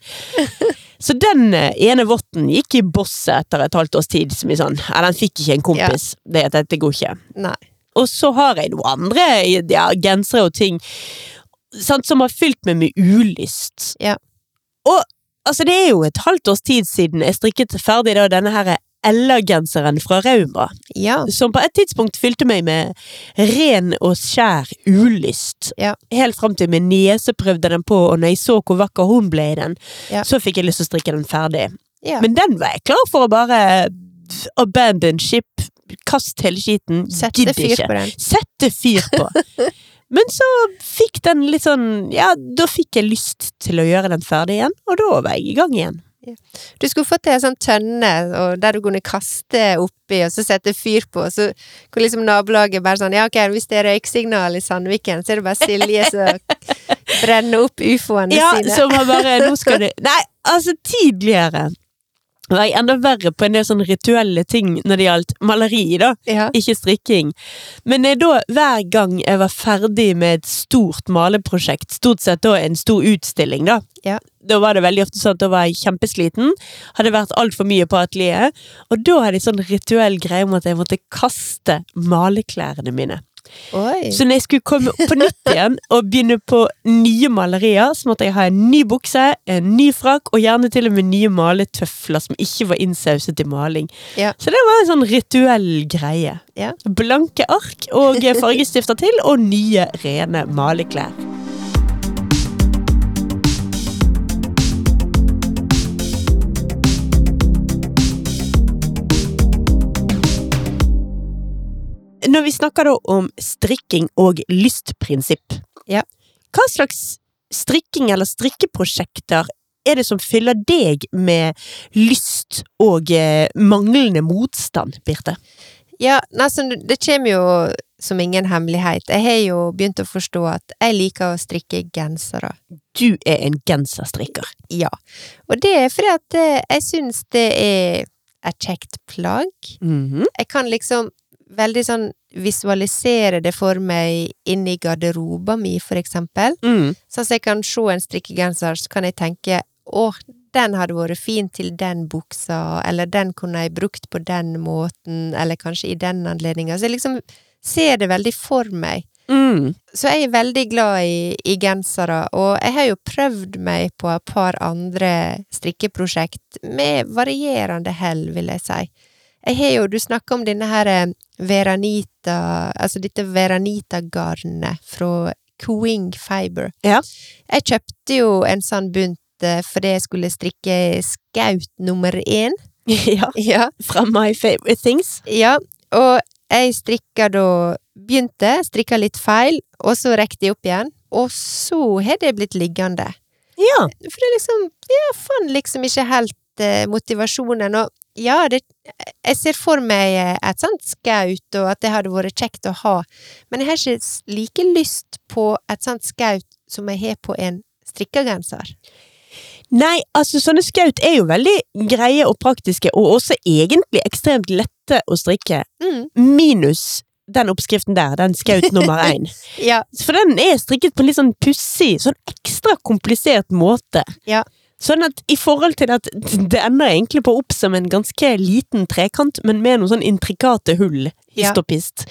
Så den eh, ene votten gikk i bosset etter et halvt års tid, som i sånn Ja, den fikk ikke en kompis. Det, dette går ikke. Nei. Og så har jeg noen andre ja, gensere og ting sant, som har fylt meg med ulyst. Ja. Og altså, det er jo et halvt års tid siden jeg strikket ferdig da, denne her Ella-genseren fra Rauma, Ja. som på et tidspunkt fylte meg med ren og skjær ulyst. Ja. Helt fram til min niese prøvde den på, og når jeg så hvor vakker hun ble i den, Ja. så fikk jeg lyst til å strikke den ferdig. ja. Men den var jeg klar for å bare abandon ship, kast hele skiten, Sette gidd fyr ikke på den. sette fyr på. Men så fikk den litt sånn Ja, da fikk jeg lyst til å gjøre den ferdig igjen, og da var jeg i gang igjen. Du skulle fått ei sånn tønne og der du kunne kaste oppi og så sette fyr på, og så kunne liksom nabolaget bare sånn Ja, ok, hvis det er røyksignal i Sandviken, så er det bare Silje som brenner opp ufoene Ja, sine. som var bare Nå skal du Nei, altså, tidligere var jeg enda verre på en del sånne rituelle ting når det gjaldt maleri, da. Ja. Ikke strikking. Men eh, da, hver gang jeg var ferdig med et stort maleprosjekt, stort sett da en stor utstilling, da, Ja. da var det veldig ofte sånn at da var jeg kjempesliten, hadde vært altfor mye på atelieret, og da hadde jeg sånn rituell greie om at jeg måtte kaste maleklærne mine. Oi. Så når jeg skulle komme på nytt igjen og begynne på nye malerier, så måtte jeg ha en ny bukse, en ny frakk og gjerne til og med nye maletøfler som ikke var innsauset i maling. Ja. Så det var en sånn rituell greie. Ja. Blanke ark og fargestifter til, og nye, rene maleklær. Når vi snakker da om strikking og lystprinsipp, Ja. hva slags strikking eller strikkeprosjekter er det som fyller deg med lyst og eh, manglende motstand, Birte? Ja, nei, så det kommer jo som ingen hemmelighet. Jeg har jo begynt å forstå at jeg liker å strikke gensere. Du er en genserstrikker. Ja. Og det er fordi at eh, jeg syns det er et kjekt plagg. Mm-hmm. jeg kan liksom veldig sånn visualisere det for meg inni garderoba mi, for eksempel. Mm. Sånn at jeg kan se en strikkegenser, så kan jeg tenke å, den hadde vært fin til den buksa, eller den kunne jeg brukt på den måten, eller kanskje i den anledninga. Så jeg liksom ser det veldig for meg. Mm. Så jeg er veldig glad i, i gensere, og jeg har jo prøvd meg på et par andre strikkeprosjekt med varierende hell, vil jeg si. Jeg har jo, du snakker om denne her eh, Veranita, altså dette Veranita-garnet fra Coing Fiber. Ja. Jeg kjøpte jo en sånn bunt eh, fordi jeg skulle strikke skaut nummer én. ja. Ja. Fra My Favorite Things. Ja, og jeg strikka da Begynte, strikka litt feil, og så rekte jeg opp igjen. Og så har det blitt liggende. Ja. For det liksom Jeg fant liksom ikke helt eh, motivasjonen. Og ja, det, jeg ser for meg eh, et sånt skaut, og at det hadde vært kjekt å ha, men jeg har ikke s- like lyst på et sånt skaut som jeg har på en strikkegenser. Nei, altså sånne skaut er jo veldig greie og praktiske, og også egentlig ekstremt lette å strikke. Mm, Minus den oppskriften der, den skaut nummer én. ja, For den er strikket på en litt sånn pussig, sånn ekstra komplisert måte. Ja. Sånn at i forhold til at det ender egentlig på opp som en ganske liten trekant, men med noen sånn intrikate hull, Ja. hist og pist,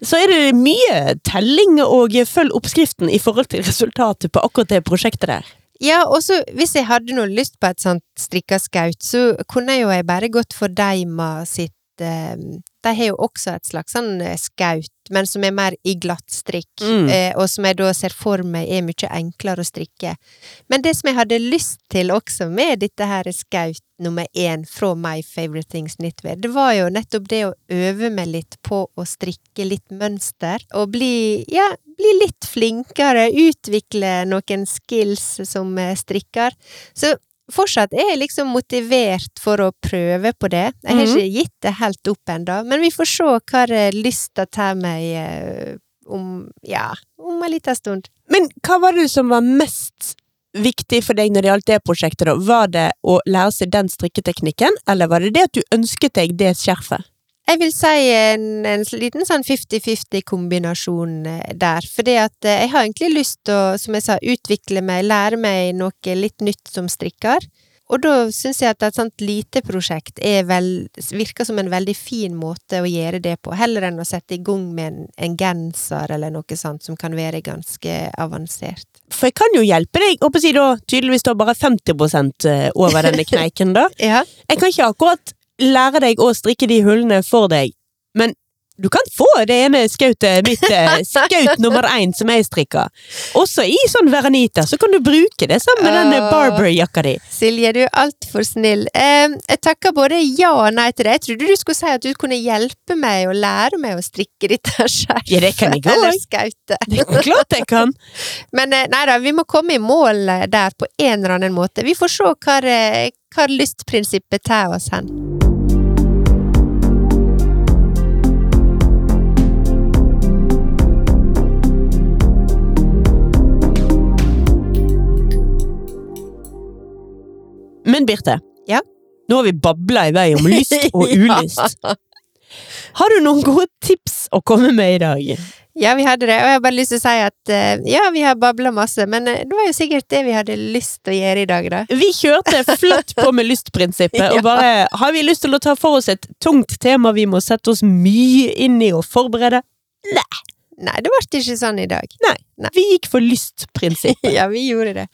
så er det mye telling og følg oppskriften i forhold til resultatet på akkurat det prosjektet der. ja og så hvis jeg hadde noe lyst på et sånt strikka skaut, så kunne jo jeg bare gått for Deima sitt eh, De har jo også et slags sånn eh, skaut, men som er mer i glatt strikk. Mm. eh, og som jeg da ser for meg er mye enklere å strikke. Men det som jeg hadde lyst til også med dette her skaut nummer én fra My Favorite Things Knitwear, det var jo nettopp det å øve meg litt på å strikke litt mønster, og bli, ja, bli litt flinkere, utvikle noen skills som eh, strikker. Så Fortsatt er jeg liksom motivert for å prøve på det. Jeg har Mhm. ikke gitt det helt opp ennå, men vi får se hva eh, lysta tar meg eh, om ja, om en liten stund. Men hva var det som var mest viktig for deg når det gjaldt det prosjektet? da? Var det å lære seg den strikketeknikken, eller var det det at du ønsket deg det skjerfet? Jeg vil si en, en liten sånn 50-50-kombinasjon eh, der. For det at eh, jeg har egentlig lyst til å, som jeg sa, utvikle meg, lære meg noe litt nytt som strikker. Og da syns jeg at et sånt lite prosjekt er vel, virker som en veldig fin måte å gjøre det på, heller enn å sette i gang med en, en genser eller noe sånt som kan være ganske avansert. For jeg kan jo hjelpe deg, håper jeg å si da, tydeligvis da bare 50 over denne kneiken da. Ja. Jeg kan ikke akkurat lære deg å strikke de hullene for deg, men du kan få det ene skautet mitt, eh, skaut nummer én, som jeg strikker. Også i sånn Veranita, så kan du bruke det sammen med den Åh. Barber-jakka di. Silje, du er altfor snill. Eh, jeg takker både ja og nei til deg. Jeg trodde du skulle si at du kunne hjelpe meg og lære meg å strikke dette skjerfet. Ja, det kan jeg også. Eller skautet. Det er klart jeg kan. Men eh, nei da, vi må komme i mål eh, der på en eller annen måte. Vi får se hva, eh, hva lystprinsippet tar oss hen. Men Birte, Ja? nå har vi babla i vei om lyst og ulyst. Ja. Har du noen gode tips å komme med i dag? Ja, vi hadde det, og jeg har bare lyst til å si at eh, ja, vi har babla masse, men eh, det var jo sikkert det vi hadde lyst til å gjøre i dag, da. Vi kjørte flatt på med lystprinsippet, og bare har vi lyst til å ta for oss et tungt tema vi må sette oss mye inn i og forberede? Nei, det ble ikke sånn i dag. Vi gikk for lystprinsipp. ja, vi gjorde det.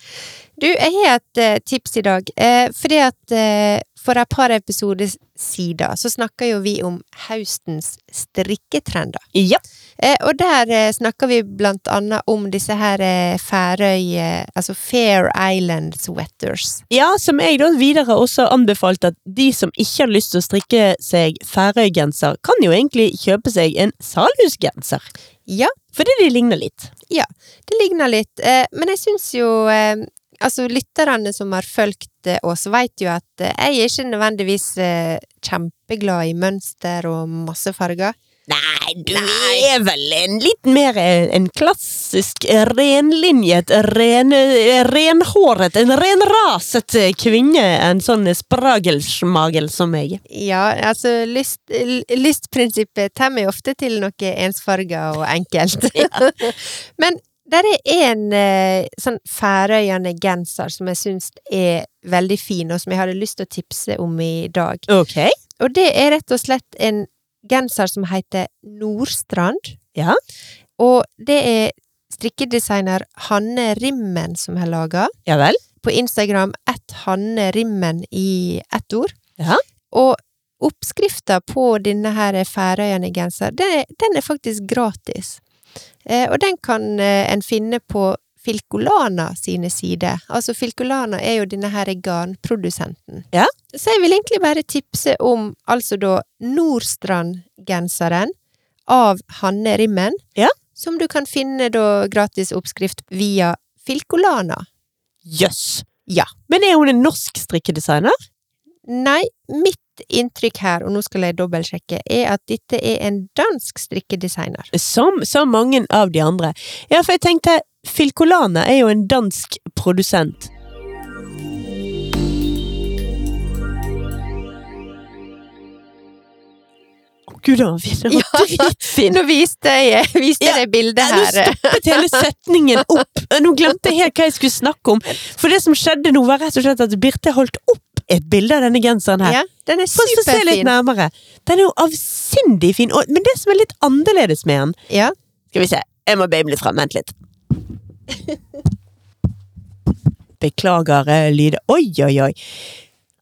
Du, jeg har et eh, tips i dag. Eh, fordi at eh, for et par episoder siden så snakka jo vi om høstens strikketrender. Ja. Eh, og der eh, snakka vi blant annet om disse her eh, Færøy eh, Altså Fair Island sweaters. ja, som jeg da videre også anbefalte at de som ikke har lyst til å strikke seg Færøygenser, kan jo egentlig kjøpe seg en Salhusgenser. Ja, Fordi de ligner litt. det ligner litt. Eh, men jeg syns jo eh, Altså, lytterne som har fulgt eh, oss, vet jo at eh, jeg er ikke nødvendigvis eh, kjempeglad i mønster og masse farger. Nei, du er vel en litt mer eh, en klassisk eh, renlinjet, ren, eh, renhåret, en renraset eh, kvinne enn sånn eh, spragelsmagel som meg. Ja, altså lyst, l- lystprinsippet tar meg ofte til noe ensfarga og enkelt. Men der er en eh, sånn færøyende genser som jeg syns er veldig fin, og som jeg hadde lyst til å tipse om i dag. Ok. Og det er rett og slett en genser som heter Nordstrand. Ja. Og det er strikkedesigner Hanne Rimmen som har laga Ja vel. på Instagram ett Hanne Rimmen i ett ord. Ja. Og oppskrifta på denne her Færøyene-genser, den, den er faktisk gratis. Eh, og den kan eh, en finne på Filcolana sine sider. Altså Filcolana er jo denne her garnprodusenten. Ja. Så jeg vil egentlig bare tipse om altså da Nordstrand-genseren av Hanne Rimmen. Ja. Som du kan finne da gratis oppskrift via Filcolana. Jøss. Yes. Ja. Men er hun en norsk strikkedesigner? Nei, mitt Mitt inntrykk her, og nå skal jeg dobbeltsjekke, er at dette er en dansk strikkedesigner. Som så mange av de andre. Ja, for jeg tenkte Filcolana er jo en dansk produsent. Å Gud, han finner Ja. ja. dritfin! Nå viste jeg, viste Ja, jeg bildet Nei, Nå her. stoppet hele setningen opp! Nå glemte jeg helt hva jeg skulle snakke om. For det som skjedde nå, var rett og slett at Birte holdt opp et bilde av denne genseren her. Ja, den er Få oss til å se litt superfin. nærmere. Den er jo avsindig fin. Og, men det som er litt annerledes med den Ja. Skal vi se. Jeg må babe litt frem. Vent litt. Beklager eh, lyd. Oi, oi, oi.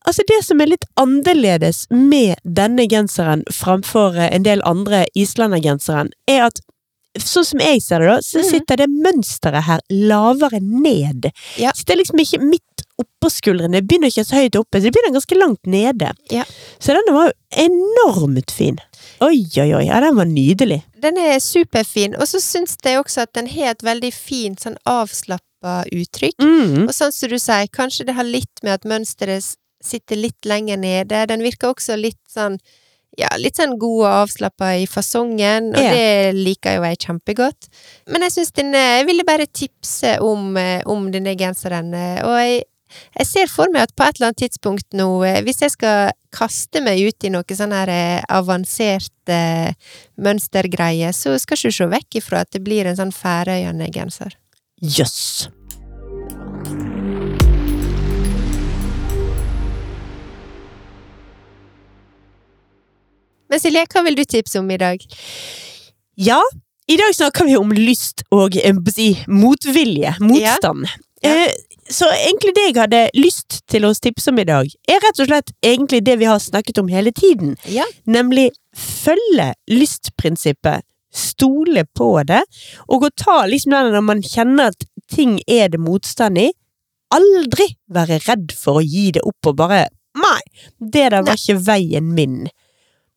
Altså Det som er litt annerledes med denne genseren framfor eh, en del andre islendergenseren, er at sånn som jeg ser det, da, så Mhm. sitter det mønsteret her lavere ned. Ja. Så det er liksom ikke midt oppå skuldrene. Det begynner ikke så høyt oppe, så det begynner ganske langt nede. Ja. Så denne var jo enormt fin. Oi, oi, oi. Ja, den var nydelig. Den er superfin. Og så syns jeg også at den har et veldig fint, sånn avslappa uttrykk. Mm. Og sånn som du sier, kanskje det har litt med at mønsteret s- sitter litt lenger nede. Den virker også litt sånn ja, litt sånn god og avslappa i fasongen, og Ja. det liker jo jeg kjempegodt. Men jeg syns den eh, Jeg ville bare tipse om, eh, om denne genseren, eh, og jeg, jeg ser for meg at på et eller annet tidspunkt nå, eh, hvis jeg skal kaste meg ut i noe sånn her eh, avansert eh, mønstergreie, så skal ikke du se vekk ifra at det blir en sånn Færøyene genser. Jøss. Men Silje, hva vil du tipse om i dag? Ja, i dag snakker vi om lyst og eh, på å si, motvilje. Motstand. Ja. Ja. Eh, Så egentlig det jeg hadde lyst til å tipse om i dag, er rett og slett egentlig det vi har snakket om hele tiden. Ja. Nemlig følge lystprinsippet. Stole på det. Og å ta liksom den når man kjenner at ting er det motstand i. Aldri være redd for å gi det opp og bare Nei, det der var ikke veien min.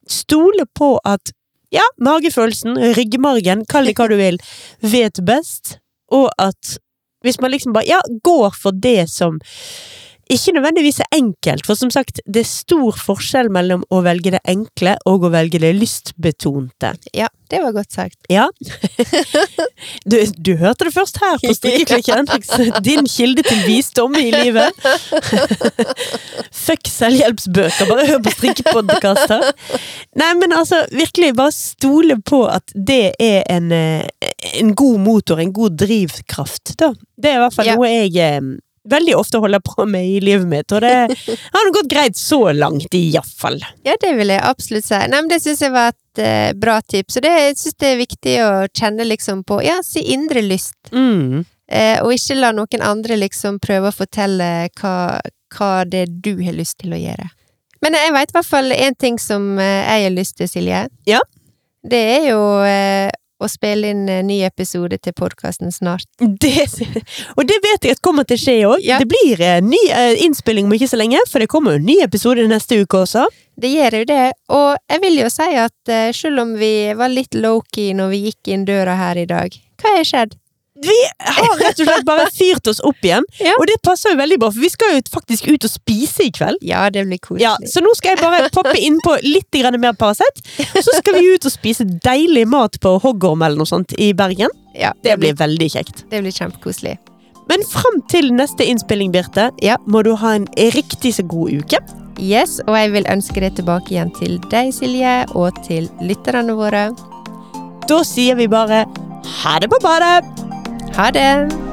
Stole på at ja, magefølelsen, ryggmargen, kall det hva du vil, vet best. Og at hvis man liksom bare ja, går for det som ikke nødvendigvis er enkelt, for som sagt, det er stor forskjell mellom å velge det enkle og å velge det lystbetonte. Ja, det var godt sagt. Ja. Du, du hørte det først her på Strikkeklikken. Din kilde til visdom i livet. Fuck selvhjelpsbøker, bare hør på strikkepodkaster. Nei, men altså, virkelig, bare stole på at det er en, eh, en god motor, en god drivkraft, da. Det er i hvert fall Ja. noe jeg eh, veldig ofte holder på med i livet mitt, og det har nå gått greit så langt, iallfall. Ja, det vil jeg absolutt si. Nei, men det syns jeg var et eh, bra tips, og det jeg synes det er viktig å kjenne liksom på ja, si indre lyst, Mm. eh, og ikke la noen andre liksom prøve å fortelle hva, hva det er du har lyst til å gjøre. Men jeg veit i hvert fall én ting som eh, jeg har lyst til, Silje. Ja. Det er jo eh, å spille inn en ny episode til podkasten snart. Det, og det vet jeg at kommer til å skje òg. Ja. Det blir eh, ny eh, innspilling om ikke så lenge, for det kommer jo en ny episode neste uke også. Det gjør jo det, og jeg vil jo si at eh, selv om vi var litt low-key når vi gikk inn døra her i dag, hva har skjedd? Vi har rett og slett bare fyrt oss opp igjen, Ja. og det passer jo veldig bra, for vi skal jo faktisk ut og spise i kveld. Ja, det blir koselig. Ja, så nå skal jeg bare poppe innpå litt grann mer Paracet, og så skal vi ut og spise deilig mat på Hoggorm eller noe sånt i Bergen. Ja, Det blir veldig kjekt. det blir kjempekoselig. Men fram til neste innspilling, Birte, Ja. må du ha en riktig så god uke. Yes, og jeg vil ønske det tilbake igjen til deg, Silje, og til lytterne våre. Da sier vi bare ha det på badet! Ha det!